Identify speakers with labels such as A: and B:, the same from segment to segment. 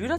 A: lytter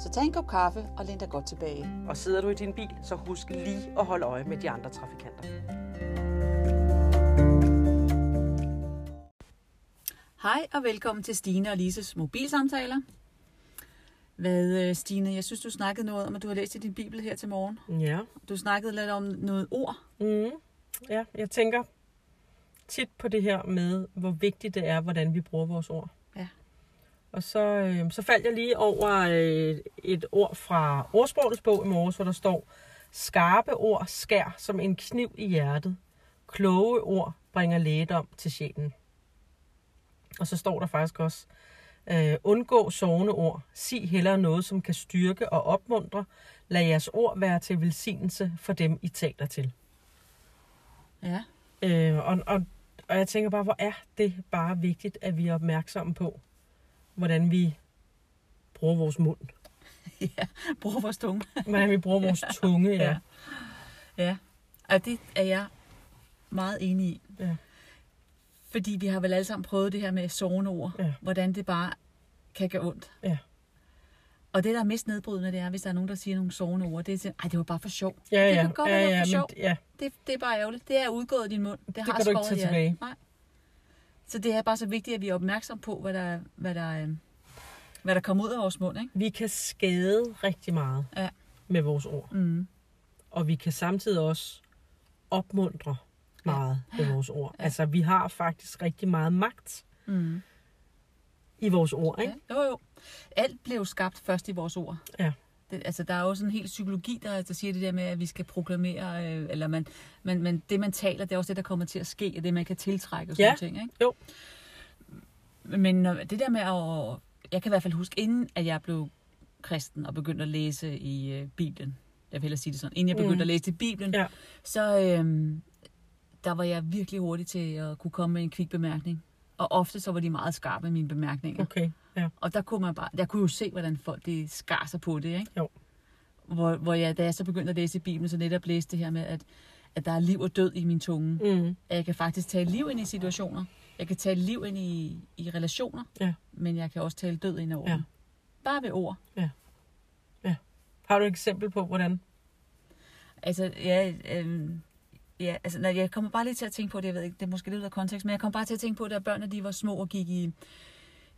B: Så tag en kop kaffe og læn dig godt tilbage.
A: Og sidder du i din bil, så husk lige at holde øje med de andre trafikanter.
B: Hej og velkommen til Stine og Lises mobilsamtaler. Hvad, øh, Stine, jeg synes, du snakkede noget om, at du har læst i din bibel her til morgen.
A: Ja.
B: Du snakkede lidt om noget ord.
A: Mm. ja, jeg tænker tit på det her med, hvor vigtigt det er, hvordan vi bruger vores ord.
B: Ja.
A: Og så, øh, så faldt jeg lige over øh, et ord fra ordsprogenes bog i morges, hvor der står, skarpe ord skær som en kniv i hjertet. Kloge ord bringer lægedom til sjælen. Og så står der faktisk også, øh, undgå sovende ord. Sig hellere noget, som kan styrke og opmuntre. Lad jeres ord være til velsignelse for dem, I taler til.
B: Ja.
A: Øh, og, og, og jeg tænker bare, hvor er det bare vigtigt, at vi er opmærksomme på, hvordan vi bruger vores mund.
B: ja. Brug vores tunge.
A: Hvordan vi bruger vores tunge, ja.
B: Ja. Ja. Og det er jeg meget enig i.
A: Ja.
B: Fordi vi har vel alle sammen prøvet det her med sovende ord.
A: Ja.
B: Hvordan det bare kan gøre ondt.
A: Ja.
B: Og det, der er mest nedbrydende, det er, hvis der er nogen, der siger nogle sovende ord. Det er sådan, ej, det var bare for sjov.
A: Ja,
B: det
A: ja,
B: kan godt
A: ja,
B: være
A: ja,
B: for sjov.
A: men, ja,
B: Det, det er bare ærgerligt. Det er udgået af din mund. Det, har
A: kan du ikke
B: skåret
A: tage
B: i hjertet.
A: tilbage.
B: Nej. Så det er bare så vigtigt, at vi er opmærksom på, hvad der, hvad der, øhm, hvad der kommer ud af vores mund. Ikke?
A: vi kan skade rigtig meget
B: Ja.
A: med vores ord.
B: Mm.
A: Og vi kan samtidig også opmuntre meget ja. med vores ord. Ja. Altså, vi har faktisk rigtig meget magt
B: Mm.
A: i vores ord, ikke?
B: Ja. Jo, jo. Alt blev skabt først i vores ord.
A: Ja.
B: Det, altså, der er jo sådan en hel psykologi, der, der siger det der med, at vi skal proklamere, øh, eller man, man, man, det man taler, det er også det, der kommer til at ske, og det man kan tiltrække og sådan
A: Ja.
B: nogle ting. Ikke?
A: Jo.
B: Men når, det der med at... Jeg kan i hvert fald huske, inden at jeg blev kristen og begyndte at læse i øh, Bibelen, jeg vil hellere sige det sådan, inden jeg begyndte
A: Mm.
B: mm. at læse i Bibelen,
A: Ja.
B: så øh, der var jeg virkelig hurtig til at kunne komme med en kvik bemærkning. Og ofte så var de meget skarpe, mine bemærkninger.
A: Okay, ja.
B: Og der kunne man bare, jeg kunne jo se, hvordan folk de skar sig på det, ikke?
A: Jo.
B: Hvor, hvor jeg, da jeg så begyndte at læse i Bibelen, så netop læste det her med, at, at der er liv og død i min tunge.
A: Mm.
B: At jeg kan faktisk tale liv ind i situationer. Jeg kan tale liv ind i, i relationer.
A: Ja.
B: Men jeg kan også tale død ind over
A: Ja.
B: dem. Bare ved ord.
A: Har du et eksempel på, hvordan?
B: Altså, ja, øh, ja altså, nej, jeg kommer bare lige til at tænke på det, jeg ved ikke, det er måske lidt ud af kontekst, men jeg kommer bare til at tænke på, da børnene de var små og gik i,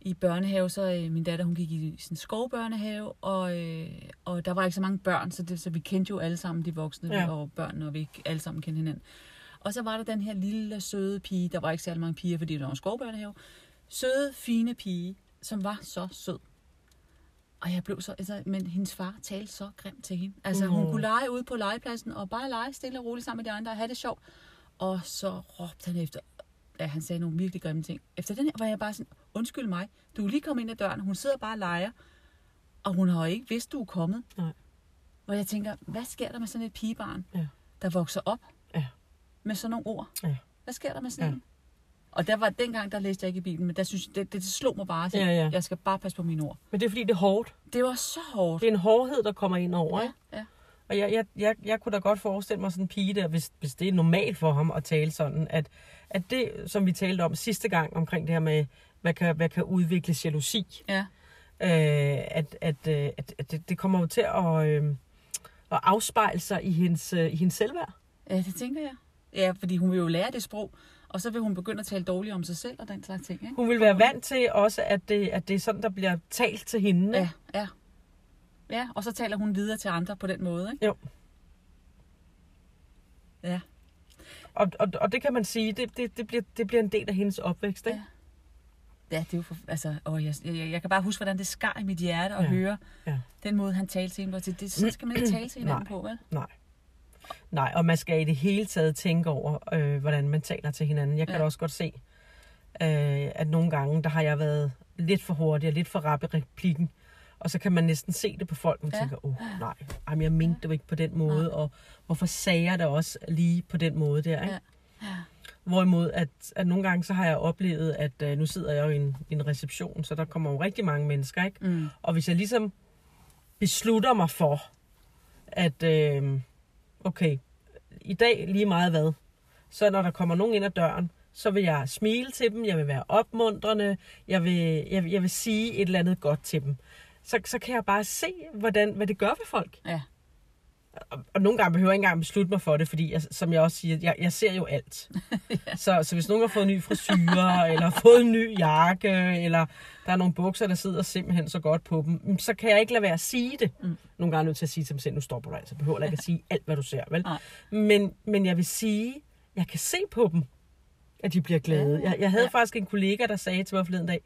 B: i børnehave, så øh, min datter, hun gik i sådan en skovbørnehave, og, øh, og der var ikke så mange børn, så, det, så vi kendte jo alle sammen de voksne
A: Ja.
B: ja. og børnene, og vi alle sammen kendte hinanden. Og så var der den her lille, søde pige, der var ikke særlig mange piger, fordi det var en skovbørnehave, søde, fine pige, som var så sød. Og jeg blev så, altså, men hendes far talte så grimt til hende. Altså, hun
A: Nå.
B: kunne lege ude på legepladsen, og bare lege stille og roligt sammen med de andre, og have det sjovt. Og så råbte han efter, ja, han sagde nogle virkelig grimme ting. Efter den her var jeg bare sådan, undskyld mig, du er lige kommet ind ad døren, hun sidder bare og leger, og hun har jo ikke vidst, du er kommet.
A: Nej.
B: Hvor jeg tænker, hvad sker der med sådan et pigebarn,
A: Ja.
B: der vokser op
A: Ja.
B: med sådan nogle ord?
A: Ja.
B: Hvad sker der med sådan
A: Ja.
B: ja. en? Og der var dengang, der læste jeg ikke i Bibelen, men der synes, det, det, det slog mig bare, at
A: Ja, ja.
B: jeg skal bare passe på mine ord.
A: Men det er fordi, det er hårdt.
B: Det var så hårdt.
A: Det er en hårdhed, der kommer ind over, ikke?
B: ja.
A: Og jeg, jeg, jeg, jeg kunne da godt forestille mig sådan en pige der, hvis, hvis det er normalt for ham at tale sådan, at, at det, som vi talte om sidste gang omkring det her med, hvad kan, hvad kan udvikle jalousi,
B: ja.
A: øh, at, at, øh, at, at det, det kommer jo til at, øh, at afspejle sig i hendes, øh, i hendes selvværd.
B: Ja, det tænker jeg. Ja, fordi hun vil jo lære det sprog, og så vil hun begynde at tale dårligt om sig selv og den slags ting, ikke?
A: Hun vil være vant til også, at det, at det er sådan, der bliver talt til hende.
B: Ja, ja. Ja, og så taler hun videre til andre på den måde, ikke?
A: Jo.
B: Ja,
A: Og, og, og det kan man sige, det, det, det, bliver, det bliver en del af hendes opvækst. Ikke?
B: ja det er jo for, altså, åh, jeg, jeg, jeg, kan bare huske, hvordan det skar i mit hjerte at
A: Ja,
B: høre
A: ja.
B: den måde, han talte til hende. på. Det, det, sådan skal man ikke tale til hinanden
A: Nej.
B: på, vel?
A: Nej. Nej, og man skal i det hele taget tænke over, øh, hvordan man taler til hinanden. Jeg kan
B: Ja.
A: da også godt se, øh, at nogle gange, der har jeg været lidt for hurtig og lidt for rap i replikken. Og så kan man næsten se det på folk, man ja.
B: Ja.
A: tænker, åh oh, nej, jamen, jeg mente det jo ikke på den måde,
B: Nej.
A: og hvorfor sagde jeg det også lige på den måde der, ikke?
B: Ja. Ja.
A: Hvorimod, at, at nogle gange så har jeg oplevet, at øh, nu sidder jeg jo i en, i en reception, så der kommer jo rigtig mange mennesker, ikke?
B: Mm.
A: Og hvis jeg ligesom beslutter mig for, at øh, okay, i dag lige meget hvad, så når der kommer nogen ind ad døren, så vil jeg smile til dem, jeg vil være opmuntrende, jeg vil, jeg, vil- jeg vil sige et eller andet godt til dem. Så, så kan jeg bare se, hvordan, hvad det gør ved folk.
B: ja.
A: Og, og nogle gange behøver jeg ikke engang beslutte mig for det, fordi jeg, som jeg også siger, jeg, jeg ser jo alt. så, så hvis nogen har fået en ny frisyre, eller fået en ny jakke, eller der er nogle bukser, der sidder simpelthen så godt på dem, mm, så kan jeg ikke lade være at sige det. Mm. Nogle gange er jeg nødt til at sige til dem selv, nu stopper du altså, behøver jeg ikke at sige alt, hvad du ser, vel?
B: Nej.
A: Men, men jeg vil sige, jeg kan se på dem, at de bliver glade. Jeg, jeg havde
B: Ah, Ja.
A: faktisk en kollega, der sagde til mig forleden dag,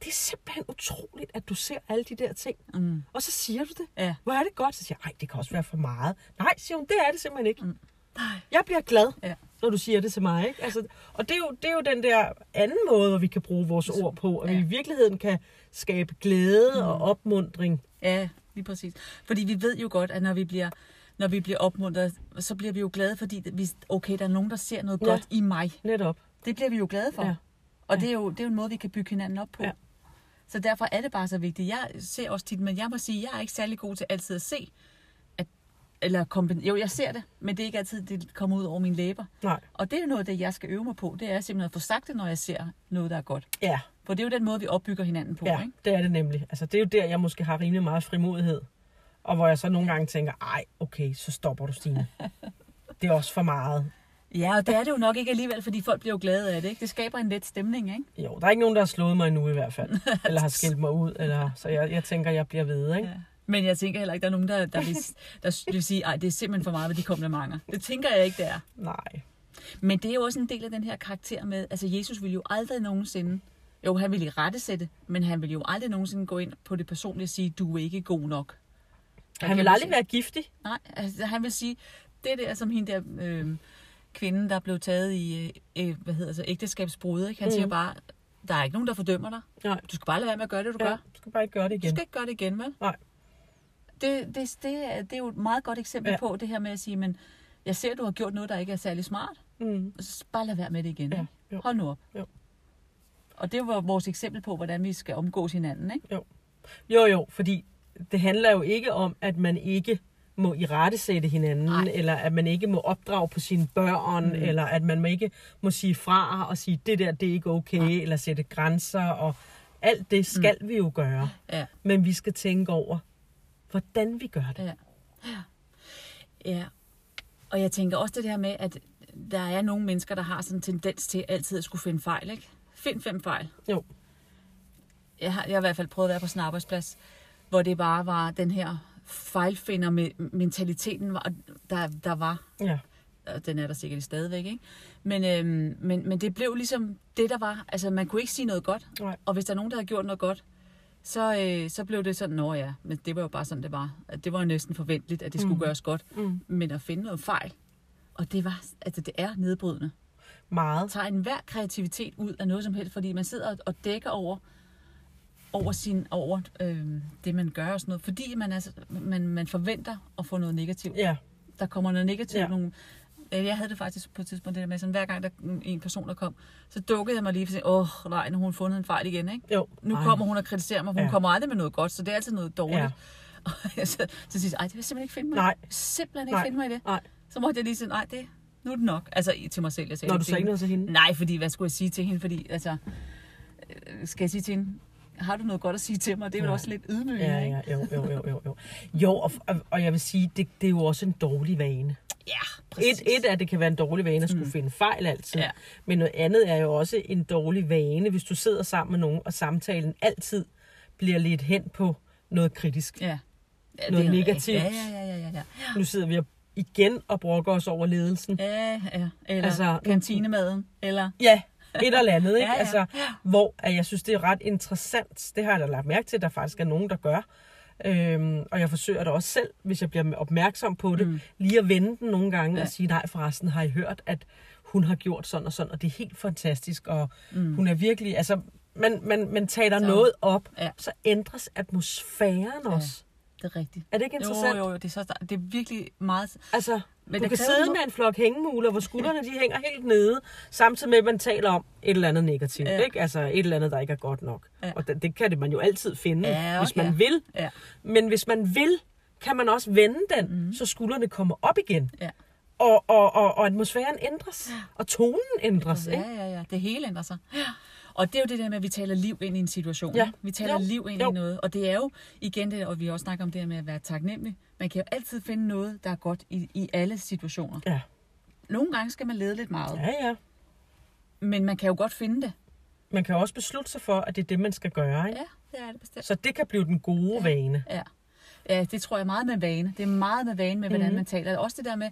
A: det er simpelthen utroligt, at du ser alle de der ting.
B: Mm.
A: Og så siger du det.
B: Ja.
A: Hvor er det godt? Så siger jeg, nej, det kan også være for meget. Nej, siger hun, det er det simpelthen ikke. Mm.
B: Nej.
A: Jeg bliver glad,
B: Ja.
A: når du siger det til mig. Ikke? Altså, og det er, jo, det er jo den der anden måde, hvor vi kan bruge vores ord på, at vi
B: Ja.
A: i virkeligheden kan skabe glæde mm. og opmundring.
B: Ja, lige præcis. Fordi vi ved jo godt, at når vi bliver, når vi bliver opmuntret, så bliver vi jo glade, fordi vi, okay, der er nogen, der ser noget
A: Ja.
B: ja. godt i mig.
A: Netop.
B: Det bliver vi jo glade for.
A: Ja.
B: Ja. Og det er, jo, det er jo en måde, vi kan bygge hinanden op på.
A: Ja.
B: Ja. Så derfor er det bare så vigtigt. Jeg ser også tit, men jeg må sige, at jeg er ikke særlig god til altid at se, at, eller kompen- jo, jeg ser det, men det er ikke altid, det kommer ud over mine læber.
A: Nej.
B: Og det er jo noget af det, jeg skal øve mig på. Det er simpelthen at få sagt det, når jeg ser noget, der er godt.
A: Ja,
B: For det er jo den måde, vi opbygger hinanden på.
A: ja
B: Ikke?
A: det er det nemlig. Altså, det er jo der, jeg måske har rimelig meget frimodighed. Og hvor jeg så nogle gange tænker, ej, okay, så stopper du, Stine. det er også for meget.
B: Ja, og det er det jo nok ikke alligevel, fordi folk bliver jo glade af det. Ikke? Det skaber en let stemning, ikke?
A: Jo, der er ikke nogen, der har slået mig endnu i hvert fald. Eller har skilt mig ud. Eller, så jeg, jeg tænker, jeg bliver ved, ikke?
B: Ja. Men jeg tænker heller ikke, der er nogen, der, der, vil, der vil sige, at det er simpelthen for meget med de komplimenter. Det tænker jeg ikke, det er.
A: Nej.
B: Men det er jo også en del af den her karakter med, altså Jesus ville jo aldrig nogensinde, jo han ville i rettesætte, men han ville jo aldrig nogensinde gå ind på det personlige og sige, du er ikke god nok. Der
A: Han
B: kan
A: vil
B: man
A: aldrig
B: sige-
A: være giftig.
B: Nej, altså, han vil sige, det der som hende der øh, kvinde, der blev taget i, øh, øh, hvad hedder så, ægteskabsbrud, ikke? han mm. siger bare, der er ikke nogen, der fordømmer dig.
A: Nej.
B: Du skal bare lade være med at gøre det, du
A: Ja,
B: gør.
A: du skal bare ikke gøre det
B: Du
A: igen.
B: skal ikke gøre det igen, vel?
A: Nej.
B: Det, det, det, er, det er jo et meget godt eksempel
A: Ja.
B: ja. på det her med at sige, men jeg ser, at du har gjort noget, der ikke er særlig smart.
A: Mm.
B: Så bare lad være med det igen.
A: Ja,
B: Ja.
A: jo.
B: Hold nu op.
A: Jo.
B: Og det var vores eksempel på, hvordan vi skal omgås hinanden. Ikke?
A: Jo, jo, fordi det handler jo ikke om, at man ikke må i rette sætte hinanden,
B: Nej.
A: eller at man ikke må opdrage på sine børn, mm. eller at man må ikke må sige fra og sige, det der, det er ikke okay, Nej. eller sætte grænser, og alt det skal mm. vi jo gøre.
B: Ja.
A: Men vi skal tænke over, hvordan vi gør det.
B: Ja. ja. Og jeg tænker også det her med, at der er nogle mennesker, der har sådan en tendens til altid at skulle finde fejl. Ikke? Find fem fejl.
A: Jo,
B: jeg har, jeg har i hvert fald prøvet at være på sådan en arbejdsplads, hvor det bare var den her fejlfinder med mentaliteten, var, der, der var.
A: ja,
B: Og Øh, den er der sikkert stadigvæk, ikke? Men, øhm, men, men det blev ligesom det, der var. Altså, man kunne ikke sige noget godt.
A: Nej.
B: Og hvis der er nogen, der havde gjort noget godt, så, øh, så blev det sådan, nå ja, men det var jo bare sådan, det var. At Det var jo næsten forventeligt, at det skulle mm. gøres godt.
A: Mm.
B: Men at finde noget fejl, og det var, altså det er nedbrydende
A: meget.
B: tager enhver kreativitet ud af noget som helst, fordi man sidder og- og dækker over over, sin, over øh, det, man gør og sådan noget. Fordi man, altså, man, man forventer at få noget negativt.
A: Ja,
B: Der kommer noget negativt.
A: Ja.
B: Ja. Nogle, Øh, jeg havde det faktisk på et tidspunkt, det der med, sådan, hver gang der en person, der kom, så dukkede jeg mig lige og sagde, åh nej, nu har hun fundet en fejl igen, ikke?
A: jo.
B: Nu
A: Ej.
B: kommer hun og kritiserer mig, for hun
A: Ja.
B: ja. kommer aldrig med noget godt, så det er altid noget dårligt.
A: Ja.
B: Ja. Og jeg så, så siger jeg, ej, det vil jeg simpelthen ikke finde mig i.
A: Nej.
B: Simpelthen ikke
A: Nej.
B: finde mig i det.
A: Nej.
B: Så måtte jeg lige sige, nej, det, nu er det nok. Altså i- til mig selv, jeg sagde
A: Når
B: det
A: du
B: til
A: sagde
B: hende.
A: noget til hende?
B: Nej, fordi hvad skulle jeg sige til hende? Fordi, altså, øh, skal jeg sige til hende, har du noget godt at sige til mig? Det er jo
A: Nej.
B: også lidt ydmygende,
A: Ja,
B: ikke?
A: ja, jo, jo, jo, jo. Jo, jo og, og, og jeg vil sige, det, det er jo også en dårlig vane.
B: Ja, præcis.
A: Et, et er, at det kan være en dårlig vane at skulle mm. finde fejl altid.
B: Ja.
A: Men noget andet er jo også en dårlig vane, hvis du sidder sammen med nogen, og samtalen altid bliver lidt hen på noget kritisk.
B: Ja. ja
A: Noget
B: det er-
A: negativt.
B: Ja, ja, ja, ja, ja. ja.
A: Nu sidder vi og- igen og brokker os over ledelsen.
B: Ja, ja. Eller
A: Altså-
B: altså, kantinemaden, eller...
A: Ja, et eller andet, ikke?
B: Ja, ja.
A: Altså, hvor at jeg synes, det er ret interessant. Det har jeg da lagt mærke til, at der faktisk er nogen, der gør. Øhm, og jeg forsøger da også selv, hvis jeg bliver opmærksom på det, mm. lige at vende den nogle gange ja. og sige, nej forresten, har I hørt, at hun har gjort sådan og sådan, og det er helt fantastisk, og mm. hun er virkelig, altså man, man, man taler
B: Så-
A: så. noget op,
B: Ja.
A: ja. så ændres atmosfæren
B: Ja.
A: ja. også.
B: Det er rigtigt.
A: Er det ikke
B: Jo,
A: interessant?
B: jo, jo, det er, så, det er virkelig meget...
A: Altså,
B: Men
A: men du
B: det
A: kan
B: kræver
A: sidde
B: noget.
A: med en flok hængemuler, hvor skuldrene de hænger helt nede, samtidig med, at man taler om et eller andet negativt.
B: Ja.
A: Ja. Ikke? Altså et eller andet, der ikke er godt nok.
B: Ja.
A: Ja. Og det, det kan det man jo altid finde,
B: Ja,
A: ja, hvis
B: ja.
A: man vil.
B: Ja.
A: Men hvis man vil, kan man også vende den, mm. så skuldrene kommer op igen.
B: Mhm. Ja.
A: Og, og, og, og atmosfæren ændres, og tonen ændres.
B: Ja,
A: Ikke?
B: ja, ja. Det hele ændrer sig. Ja. Og det er jo det der med, at vi taler liv ind i en situation.
A: Ja.
B: ikke? Vi taler jo.
A: Jo,
B: liv ind jo.
A: jo.
B: i noget. Og det er jo igen det, og vi har også snakket om det her med at være taknemmelig. Man kan jo altid finde noget, der er godt i, i alle situationer.
A: Ja.
B: Nogle gange skal man lede lidt meget, ja.
A: ja, ja.
B: men man kan jo godt finde det.
A: Man kan også beslutte sig for, at det er det, man skal gøre. Ikke?
B: Ja, det er det bestemt.
A: Så det kan blive den gode ja. vane.
B: Ja. ja, det tror jeg er meget med vane. Det er meget med vane med, hvordan
A: Mhm.
B: mm-hmm. man taler. Også det der med,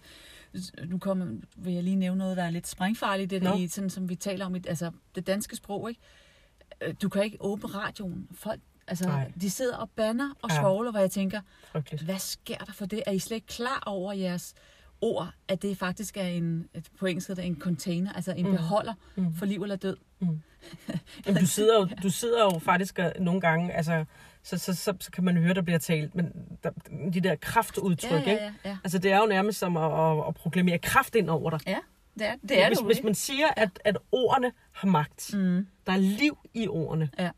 B: nu kommer, vil jeg lige nævne noget, der er lidt sprængfarligt, det der,
A: Nå.
B: i, sådan, som vi taler om, i, altså det danske sprog, ikke? Øh, Du kan ikke åbne radioen. Folk, altså,
A: Nej.
B: de sidder og banner og
A: Ja.
B: svogler, hvor jeg tænker,
A: Frygteligt.
B: hvad sker der for det? Er I slet ikke klar over jeres ord, at det faktisk er en, at på engelsk hedder det en container, altså
A: Mhm.
B: en mm. beholder mm. for liv eller død?
A: Jamen, du, sidder jo, du sidder jo faktisk og- nogle gange, altså, så, så, så, så kan man høre, der bliver talt, men der, de der kraftudtryk,
B: Ja, ja, ja,
A: ikke?
B: ja.
A: Altså, det er jo nærmest som at, at, at proklamere kraft ind over dig.
B: Ja, det er det. Er
A: hvis,
B: det jo,
A: hvis
B: ikke?
A: man siger, at, at ordene har magt, mm. der er liv i ordene,
B: Ja.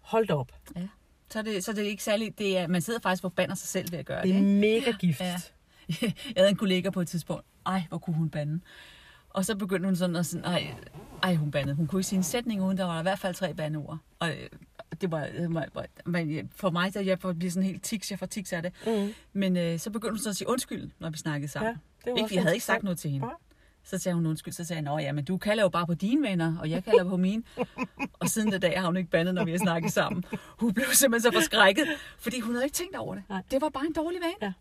A: hold da op.
B: Ja. Så er det, så er det ikke særlig, det er, man sidder faktisk og bander sig selv ved at gøre det.
A: Det er
B: Ikke?
A: mega gift.
B: Ja. Jeg havde en kollega på et tidspunkt, ej, hvor kunne hun bande. Og så begyndte hun sådan at sådan, ej, ej hun bandede. Hun kunne ikke sige en sætning, uden der var i hvert fald tre bandeord. Og øh, det var, det var- var- men for mig, der jeg får- bliver sådan helt tiks, jeg får tiks af det. Mm. Men øh, så begyndte hun så at sige undskyld, når vi snakkede sammen.
A: Ja, det var
B: ikke,
A: også
B: jeg havde ikke sagt
A: interessant.
B: noget til hende.
A: Nej.
B: Så sagde hun undskyld, så sagde jeg, at ja, men du kalder jo bare på dine venner, og jeg kalder på mine. Og siden den dag har hun ikke bandet, når vi har snakket sammen. Hun blev simpelthen så forskrækket, fordi hun havde ikke tænkt over det.
A: Nej.
B: Det var bare en dårlig vane.
A: Ja.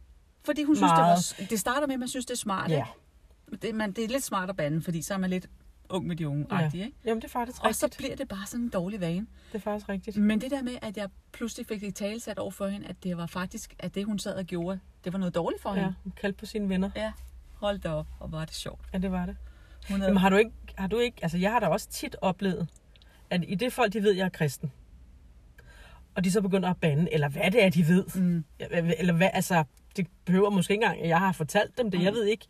B: Fordi hun synes, det, var,
A: Meget.
B: s- det starter med, at man synes, det er smart.
A: Ja.
B: Ikke? Det, man, det er lidt smart at bande, fordi så er man lidt ung med de unge
A: Ja.
B: ikke?
A: Jamen, det er faktisk
B: Og så
A: rigtigt.
B: bliver det bare sådan en dårlig vane.
A: Det er faktisk rigtigt.
B: Men det der med, at jeg pludselig fik det talesat over for hende, at det var faktisk, at det hun sad og gjorde, det var noget dårligt for
A: Ja,
B: hende.
A: kaldt på sine venner.
B: Ja. Hold da op, og var det sjovt.
A: Ja, det var det.
B: Hun havde,
A: Jamen, har du ikke, har du ikke, altså jeg har da også tit oplevet, at i det folk, de ved, jeg er kristen, og de så begynder at bande, eller hvad det er, de ved, mm. eller hvad, altså, det behøver måske ikke engang, at jeg har fortalt dem det, jeg ved ikke,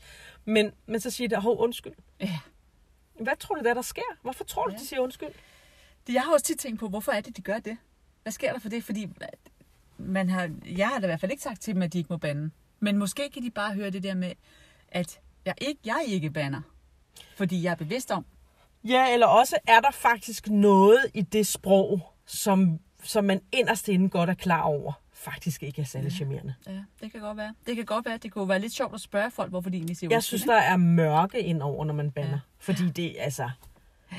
A: men, men så siger de, hov, undskyld.
B: Mm. ja.
A: Hvad tror du, der, der sker? Hvorfor tror du,
B: Ja.
A: de siger undskyld?
B: Det- Jeg har også tit tænkt på, hvorfor er det, de gør det? Hvad sker der for det? Fordi at man har, jeg har da i hvert fald ikke sagt til dem, at de ikke må bande. Men måske kan de bare høre det der med, at jeg ikke, jeg ikke banner. Fordi jeg er bevidst om,
A: Ja, eller også er der faktisk noget i det sprog, som, som man inderst inde godt er klar over, faktisk ikke er særlig charmerende.
B: Ja, det kan godt være. Det kan godt være, det kunne være lidt sjovt at spørge folk, hvorfor de egentlig siger
A: Jeg
B: undskyld,
A: synes,
B: ikke?
A: der er mørke indover, når man banner.
B: Ja.
A: Ja. Fordi det, altså...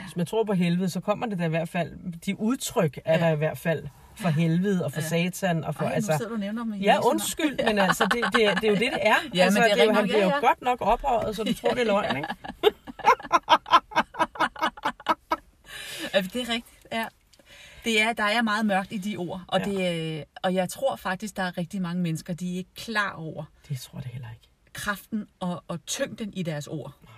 A: Hvis man tror på helvede, så kommer det der i hvert fald... De udtryk er
B: Ja.
A: der i hvert fald for helvede og for satan og for...
B: Ej, altså, nu
A: altså,
B: sidder du og nævner dem. i
A: ja,
B: hele sådan-
A: undskyld, men altså, det, det, er- det er jo det, det er.
B: men
A: altså,
B: det er
A: jo-
B: rigtig
A: Han
B: nok,
A: bliver
B: ja,
A: jo
B: ja.
A: godt nok ophøjet, så du tror, det er løgn, ikke?
B: Ja, det er rigtigt, ja. Det er, der er meget mørkt i de ord, og, ja.
A: Ja.
B: det, øh, og jeg tror faktisk, der er rigtig mange mennesker, de er ikke klar over
A: Det tror jeg det heller ikke.
B: kraften og, og tyngden i deres ord.
A: Nej.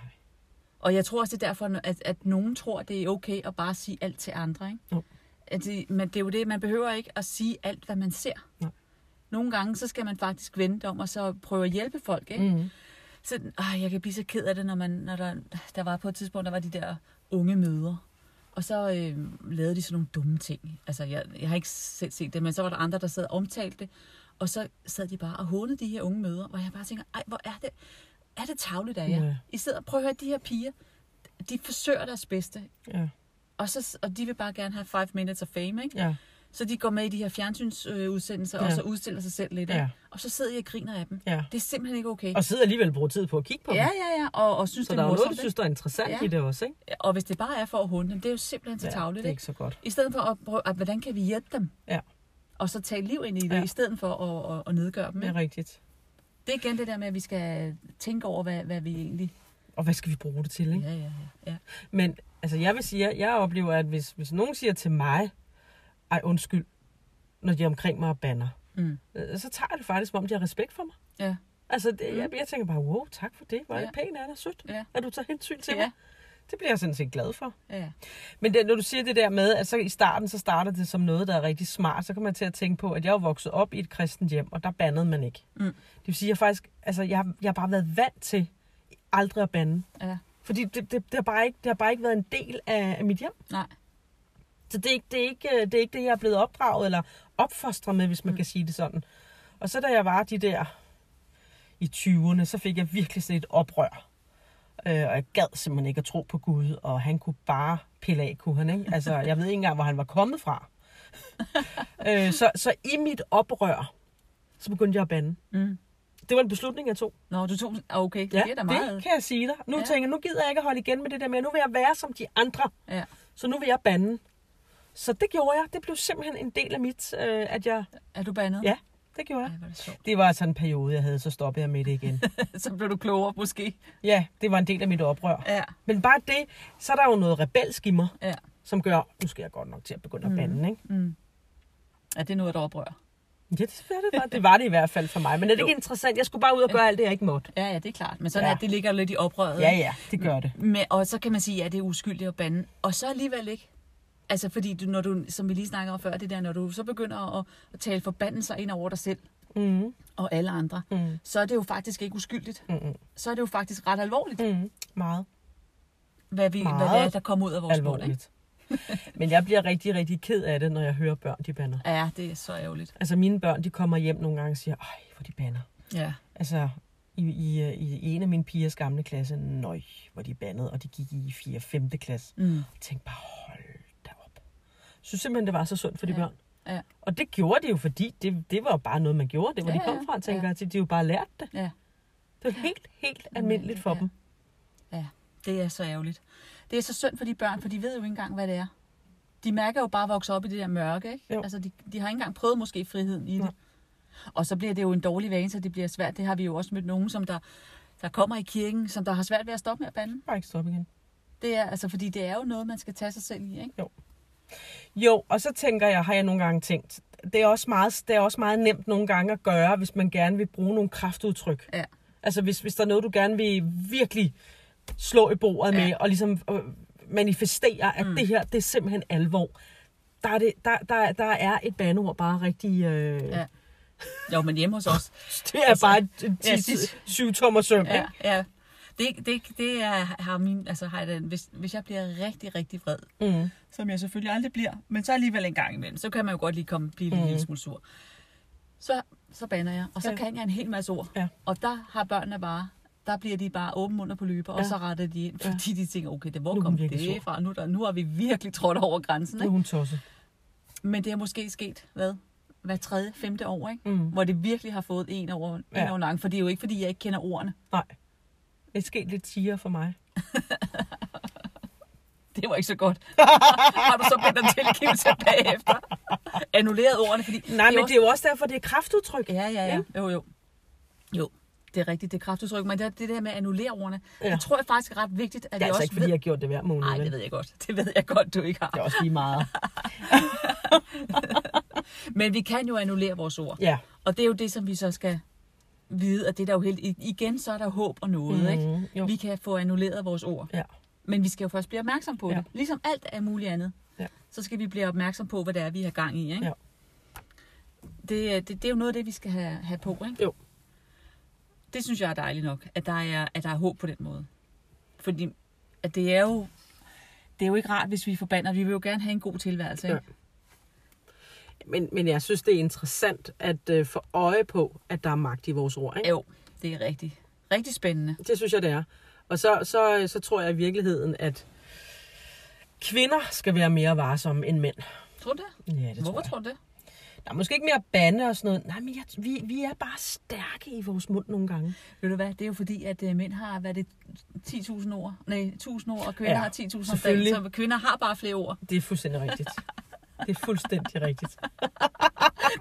B: Og jeg tror også, det er derfor, at, at nogen tror, det er okay at bare sige alt til andre. Ikke?
A: Jo.
B: At det, men det er jo det, man behøver ikke at sige alt, hvad man ser.
A: Nej.
B: Nogle gange, så skal man faktisk vente om, og så prøve at hjælpe folk. Ikke?
A: Mhm.
B: Mm. Så, øh, jeg kan blive så ked af det, når, man, når der, der var på et tidspunkt, der var de der unge møder. Og så øh, lavede de sådan nogle dumme ting. Altså, jeg, jeg har ikke selv set det, men så var der andre, der sad og omtalte det. Og så sad de bare og hånede de her unge møder, hvor jeg bare tænker, ej, hvor er det, er det tavligt af jer?
A: Ja.
B: I sidder og prøver at høre, de her piger, de forsøger deres bedste.
A: Ja,
B: Og, så, og de vil bare gerne have 5 minutes of fame, ikke?
A: ja,
B: Så de går med i de her fjernsynsudsendelser, øh, ja. og
A: Ja.
B: så udstiller sig selv lidt,
A: Ja.
B: ikke? Og så sidder jeg og griner af dem.
A: ja.
B: Det er simpelthen ikke okay.
A: Og sidder alligevel og bruger tid på at kigge på
B: ja,
A: dem.
B: ja, ja, og, og synes,
A: Så
B: det
A: der
B: er
A: er jo noget,
B: morsomt,
A: du synes, der er interessant
B: Ja.
A: i det også, ikke?
B: ikke? Og hvis det bare er for at hunde dem, det er jo simpelthen så tavligt,
A: det er
B: ikke?
A: ikke så godt.
B: I stedet for at prøve, at hvordan kan vi hjælpe dem?
A: Ja,
B: Og så tage liv ind i det, ja.
A: Ja.
B: i stedet for at, at, at nedgøre dem,
A: det er
B: ikke?
A: rigtigt.
B: Det er igen det der med, at vi skal tænke over, hvad, hvad vi egentlig...
A: Og hvad skal vi bruge det til, ikke?
B: Ja, ja, ja. ja.
A: Men altså, jeg vil sige, at jeg oplever, at hvis, hvis nogen siger til mig, ej undskyld, når de er omkring mig og banner,
B: Mm.
A: øh, så tager jeg det faktisk, som om de har respekt for mig.
B: ja.
A: Altså, det, jeg, jeg tænker bare, wow, tak for det. Hvor er det
B: Mm. Ja.
A: pænt af dig, sødt,
B: Ja.
A: at du tager hensyn til
B: Ja.
A: mig. Det bliver jeg sådan set glad for.
B: Ja.
A: Men det, når du siger det der med, at så i starten, så starter det som noget, der er rigtig smart, så kommer jeg til at tænke på, at jeg er jo vokset op i et kristent hjem, og der bandede man ikke.
B: Mm.
A: Det vil sige, at jeg faktisk, altså, jeg, har- jeg har bare været vant til aldrig at bande.
B: ja.
A: Fordi det, det, det, har, bare ikke, det har bare ikke været en del af, af mit hjem.
B: Nej.
A: Så det er, ikke, det, er ikke, øh, det er ikke det, jeg er blevet opdraget eller opfostret med, hvis man
B: Mm.
A: mm. kan sige det sådan. Og så da jeg var de der i 20'erne, så fik jeg virkelig sådan et oprør. Øh, og jeg gad simpelthen ikke at tro på Gud, og han kunne bare pille af, kunne han ikke? Altså, jeg ved ikke engang, hvor han var kommet fra. øh, så, så i mit oprør, så begyndte jeg at bande.
B: Mm.
A: Det var en beslutning, jeg tog.
B: Nå, du tog... ah, Okay, det er da meget.
A: det kan jeg sige dig. Nu
B: Ja.
A: ja. tænker jeg, nu gider jeg ikke at holde igen med det der med, nu vil jeg være som de andre.
B: Ja.
A: Så nu vil jeg bande. Så det gjorde jeg. Det blev simpelthen en del af mit, øh, at jeg...
B: Er du bandet?
A: Ja, det gjorde jeg.
B: Ej, hvor er det sjovt.
A: Det var altså en periode, jeg havde, så stoppede jeg med det igen.
B: så blev du klogere, måske.
A: ja, det var en del af mit oprør.
B: Ja.
A: Men bare det, så er der jo noget rebelsk i mig,
B: Ja.
A: som gør, nu skal jeg godt nok til at begynde at bande, ikke?
B: Mm. Ja, det er noget, der oprører.
A: Ja, det var det, var. det var det i hvert fald for mig. Men er det
B: Jo.
A: ikke interessant? Jeg skulle bare ud og gøre alt det, jeg ikke måtte.
B: Ja, ja, det er klart. Men sådan ja.
A: Ja.
B: er det ligger jo lidt i oprøret.
A: Ja, ja, det gør det.
B: Men, og så kan man sige, at ja, det er uskyldigt at bande. Og så alligevel ikke. Altså fordi, du, når du, som vi lige snakkede om før, det der, når du så begynder at, at tale forbandelser ind over dig selv
A: Mm,
B: og alle andre,
A: mm,
B: så er det jo faktisk ikke uskyldigt.
A: mm,
B: Så er det jo faktisk ret alvorligt,
A: mm. Meget.
B: hvad, vi, hvad det
A: Meget
B: er, der kommer ud af vores mund. Ikke?
A: alvorligt. Men jeg bliver rigtig, rigtig ked af det, når jeg hører børn, de banner.
B: Ja, det er så ærgerligt.
A: Altså mine børn, de kommer hjem nogle gange og siger, ej, hvor de banner.
B: Ja,
A: Altså, i, i, øh, i en af mine pigers gamle klasse, nøj, hvor de bandede, og de gik i 4. 5. klasse.
B: mm.
A: Jeg tænkte bare, hold da op. Jeg synes simpelthen, det var så sundt for de
B: Ja,
A: børn.
B: ja.
A: Og det gjorde de jo, fordi det, det var jo bare noget, man gjorde. Det var,
B: Ja,
A: ja, de kom
B: ja,
A: fra, tænker
B: ja.
A: jeg til. De har jo bare lært det.
B: Ja.
A: Det var helt, helt almindeligt for
B: Ja.
A: dem.
B: det er så ærgerligt. Det er så synd for de børn, for de ved jo ikke engang, hvad det er. De mærker jo bare at vokse op i det der mørke. Ikke?
A: Jo.
B: Altså, de, de har ikke engang prøvet måske friheden i det.
A: Nej.
B: Og så bliver det jo en dårlig vane, så det bliver svært. Det har vi jo også mødt nogen, som der, der kommer i kirken, som der har svært ved at stoppe med at bande.
A: Bare ikke stoppe igen.
B: Det er, altså, fordi det er jo noget, man skal tage sig selv i. Ikke?
A: Jo, og så tænker jeg, har jeg nogle gange tænkt, det er også meget, det er også meget nemt nogle gange at gøre, hvis man gerne vil bruge nogle kraftudtryk.
B: Ja.
A: Altså hvis, hvis der er noget, du gerne vil virkelig slå i bordet
B: Ja.
A: med, og ligesom øh, manifestere, at
B: Mm.
A: mm. det her, det er simpelthen alvor. Der er, det, der, der, der er et bandeord bare rigtig... Øh,
B: Ja.
A: ja.
B: Jo, men hjemme hos os.
A: Det er
B: Altså,
A: altså, bare
B: ja,
A: et
B: det-
A: 7-tommer søm,
B: Ja,
A: ikke?
B: ja. Det, det, det er, har min, altså, har jeg den, hvis, hvis jeg bliver rigtig, rigtig vred,
A: Mm.
B: som jeg selvfølgelig aldrig bliver, men så alligevel en gang imellem, så kan man jo godt lige komme blive mm. en
A: Mm.
B: lille smule sur. Så, så banner jeg, og så ja.
A: Ja.
B: kan jeg en hel masse ord.
A: Ja.
B: Og der har børnene bare, der bliver de bare åben under på løber, ja. og
A: Ja.
B: så retter de ind,
A: Ja.
B: fordi de tænker, okay, det,
A: Nu
B: hvor
A: er
B: kom
A: hun virkelig
B: det
A: sur.
B: fra? Nu, er der, nu har vi virkelig trådt over grænsen.
A: Nu er
B: Ikke?
A: hun tosset.
B: Men det er måske sket, hvad? Hver tredje, femte år, ikke?
A: Mm.
B: hvor det virkelig har fået en over, ja.
A: Ja.
B: en over lang, for det er jo ikke, fordi jeg ikke kender ordene.
A: Nej. Det er sket lidt tiger for mig.
B: Det var ikke så godt. har du så bedt om tilgivelse bagefter? Annulleret ordene, fordi
A: Nej,
B: er
A: men
B: også-
A: det er jo også derfor, det er kraftudtryk.
B: Ja, ja, ja.
A: Ikke?
B: Jo, jo. Jo, det er rigtigt, det er kraftudtryk, men det, det der med at annullere ordene, ja.
A: Ja.
B: det tror jeg faktisk er ret vigtigt, at
A: Det er
B: vi
A: altså
B: også
A: ikke, fordi
B: ved...
A: jeg har gjort det hver måned.
B: Nej,
A: vel?
B: det ved jeg godt. Det ved jeg godt, du ikke har.
A: Det er også lige meget.
B: Men vi kan jo annullere vores ord.
A: Ja.
B: Og det er jo det, som vi så skal vide, og det er der jo helt... i- Igen, så er der håb og noget, mm, ikke?
A: Mhm, Jo.
B: Vi kan få annulleret vores ord.
A: Ja.
B: Men vi skal jo først blive opmærksom på ja.
A: Ja.
B: det. Ligesom alt er muligt andet,
A: Ja.
B: så skal vi blive opmærksom på, hvad det er, vi har gang i. Ikke?
A: Ja.
B: Det, er- det, det er jo noget af det, vi skal have, have på. Ikke?
A: Jo.
B: Det synes jeg er dejligt nok, at der er, at der er håb på den måde. Fordi at det er jo det er jo ikke rart, hvis vi forbander. Vi vil jo gerne have en god tilværelse. Ikke?
A: Men, men jeg synes, det er interessant at øh, få øje på, at der er magt i vores ord. Ikke?
B: Jo, det er rigtig, rigtig spændende.
A: Det synes jeg, det er. Og så, så, så tror jeg i virkeligheden, at kvinder skal være mere varsomme end mænd.
B: Tror du det?
A: Ja, det
B: Hvorfor
A: tror jeg.
B: tror du det?
A: Der er måske ikke mere bande og sådan noget. Nej, men jeg, vi, vi er bare stærke i vores mund nogle gange.
B: Ved du hvad, det er jo fordi, at øh, mænd har været det 10.000 ord, nej, 1.000 ord, og kvinder ja,
A: Ja,
B: har 10.000 om dagen,
A: selvfølgelig.
B: så kvinder har bare flere ord.
A: Det er fuldstændig rigtigt. Det er fuldstændig rigtigt.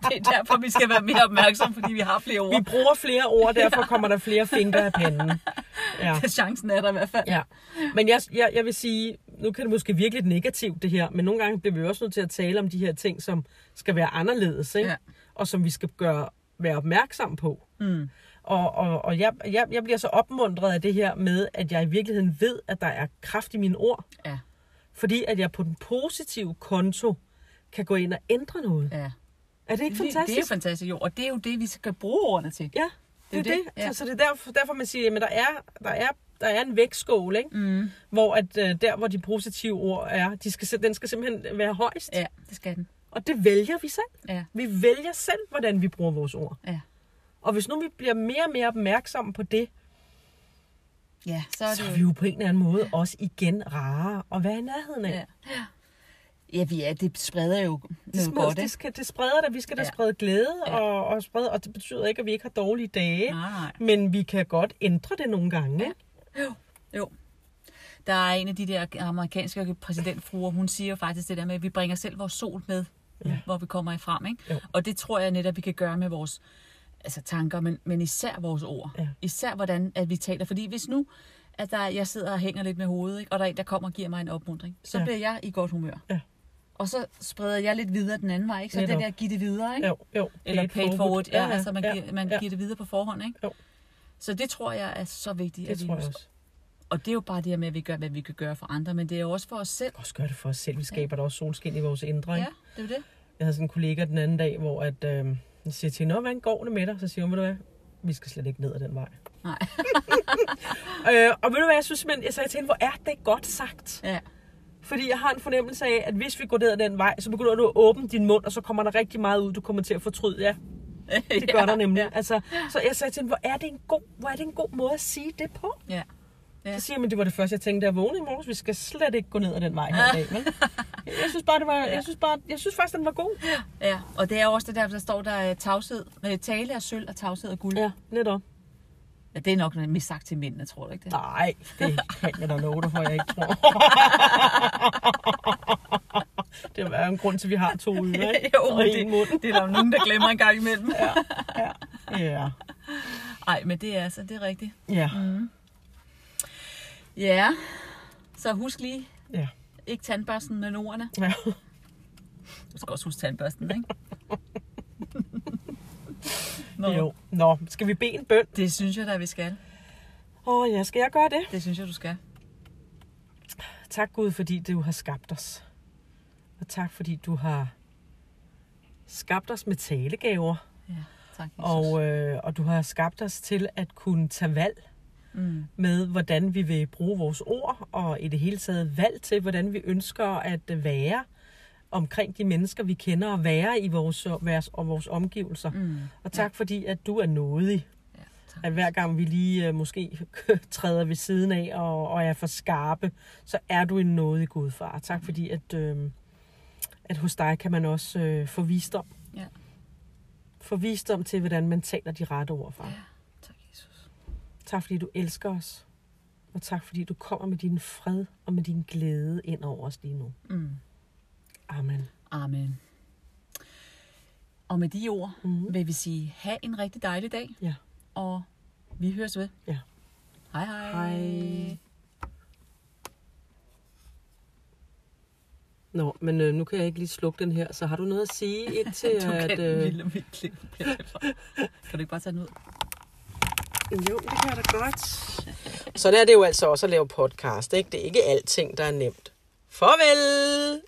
B: Det er derfor, vi skal være mere opmærksomme, fordi vi har flere ord.
A: Vi bruger flere ord, derfor kommer der flere fingre af panden. Ja.
B: Chancen er der i hvert fald.
A: Ja, men jeg, jeg, jeg vil sige, nu kan det måske virke lidt negativt det her, men nogle gange bliver vi også nødt til at tale om de her ting, som skal være anderledes, ikke?
B: Ja.
A: og som vi skal gøre, være opmærksom på.
B: Mm.
A: Og, og, og jeg, jeg, jeg bliver så opmuntret af det her med, at jeg i virkeligheden ved, at der er kraft i mine ord.
B: Ja,
A: Fordi at jeg på den positive konto kan gå ind og ændre noget.
B: ja.
A: Er det ikke fantastisk?
B: Det er jo fantastisk, jo. Og det er jo det, vi skal bruge ordene til.
A: Ja, det er
B: Det er
A: det.
B: det,
A: det.
B: ja.
A: Så, så det er derfor, derfor man siger, at der er, der, er, der er en vægtskål, ikke?
B: Mm.
A: hvor at, øh, der, hvor de positive ord er, de skal, sim- den skal simpelthen være højst.
B: Ja, det skal den.
A: Og det vælger vi selv.
B: Ja,
A: Vi vælger selv, hvordan vi bruger vores ord.
B: ja.
A: Og hvis nu vi bliver mere og mere opmærksomme på det,
B: Ja, så er
A: så
B: det
A: er vi jo på en eller anden måde også igen rarere at være i nærheden af.
B: Ja. Ja, vi er, det spreder jo
A: Det,
B: noget
A: små,
B: godt,
A: det,
B: ikke?
A: skal, det spreder da, vi skal da
B: Ja.
A: sprede glæde,
B: Ja.
A: og, og, sprede, og det betyder ikke, at vi ikke har dårlige dage,
B: Nej, nej.
A: men vi kan godt ændre det nogle gange. ikke?
B: Jo, jo. Der er en af de der amerikanske præsidentfruer, hun siger jo faktisk det der med, at vi bringer selv vores sol med,
A: Ja.
B: ja. hvor vi kommer ifra, ikke?
A: Jo.
B: Og det tror jeg netop, vi kan gøre med vores altså tanker, men, men især vores ord.
A: Ja.
B: Især hvordan at vi taler. Fordi hvis nu, at der, jeg sidder og hænger lidt med hovedet, ikke? og der er en, der kommer og giver mig en opmundring, så
A: Ja.
B: ja. bliver jeg i godt humør.
A: Ja.
B: Og så spreder jeg lidt videre den anden vej, ikke? Så
A: Netop.
B: det der at give det videre, ikke?
A: Jo, jo. det er
B: Eller
A: et
B: paid forward. forward. Ja, ja, altså man, ja, giver, man
A: ja.
B: ja. giver det videre på forhånd, ikke?
A: Jo.
B: Så det tror jeg er så vigtigt.
A: Det
B: at vi
A: tror jeg
B: husker.
A: også.
B: Og det er jo bare det her med, at vi gør, hvad vi kan gøre for andre, men det er jo også for os selv.
A: Også gør det for os selv. Vi skaber ja. da også solskin i vores indre.
B: Ja,
A: Ja.
B: det er jo det.
A: Jeg havde sådan en kollega den anden dag, hvor at, øh, jeg siger til hende, "Nå, hvordan går det med dig? Så siger hun, ved du hvad, vi skal slet ikke ned ad den vej.
B: Nej.
A: øh, og ved du hvad, jeg synes simpelthen, jeg sagde til hende, hvor er det godt sagt.
B: Ja,
A: Fordi jeg har en fornemmelse af, at hvis vi går ned ad den vej, så begynder du at åbne din mund, og så kommer der rigtig meget ud, du kommer til at fortryde. Ja, det gør der nemlig. Altså, så jeg sagde til hende, hvor er, det en god, hvor er det en god måde at sige det på?
B: ja.
A: Ja.
B: Ja.
A: Så siger man, det var det første, jeg tænkte, da jeg vågnede i morges. Vi skal slet ikke gå ned ad den vej her i dag, vel? Jeg synes bare, det var, jeg synes bare, jeg synes faktisk, den var god.
B: Ja, og det er jo også det der, der står der øh, tavshed, øh, tale er sølv og tavshed er guld. Ja.
A: Ja, netop.
B: ja det er nok noget mest sagt til mændene, tror du ikke det?
A: Nej, det kan jeg da love dig for, jeg ikke tror. det er jo en grund til, at vi har to ører, ikke?
B: jo,
A: og
B: men
A: en mund.
B: det, det er der jo nogen, der glemmer en gang imellem. Nej,
A: Ja.
B: men det er altså, det er rigtigt.
A: Ja.
B: Ja, så husk lige,
A: ja.
B: ikke tandbørsten, men ordene.
A: ja.
B: Du skal også huske tandbørsten, ikke? Nå,
A: Jo. Nå, skal vi bede en bøn?
B: det synes jeg da, vi skal.
A: Åh oh, ja, skal jeg gøre det?
B: Det synes jeg, du skal.
A: Tak Gud, fordi du har skabt os. Og tak, fordi du har skabt os med talegaver.
B: Ja, tak, Jesus.
A: Og, øh, og du har skabt os til at kunne tage valg
B: mm,
A: med, hvordan vi vil bruge vores ord, og i det hele taget valg til, hvordan vi ønsker at være omkring de mennesker, vi kender, og være i vores, vores, og vores omgivelser. Mm.
B: mm,
A: Og tak fordi, at du er nådig,
B: ja, tak.
A: at hver gang vi lige øh, måske træder ved siden af og, og er for skarpe, så er du en nådig Gud, far. Tak fordi, at, øh, at hos dig kan man også øh, få visdom.
B: Ja.
A: Få visdom til, hvordan man taler de rette ord, far.
B: Ja. Tak, Jesus.
A: Tak fordi du elsker os. Og tak fordi du kommer med din fred og med din glæde ind over os lige nu.
B: Mm.
A: Amen.
B: Amen. Og med de ord
A: Mhm.
B: mm. vil vi sige, have en rigtig dejlig dag,
A: Ja.
B: og vi høres ved.
A: Ja.
B: Hej hej.
A: Hej. Nå, men øh, nu kan jeg ikke lige slukke den her, så har du noget at sige indtil
B: Du kan
A: at...
B: den
A: Øh,
B: lille mit klip. Kan du ikke bare tage den ud?
A: jo, det kan jeg da godt. Sådan er det jo altså også at lave podcast, ikke? Det er ikke alting, der er nemt. Farvel!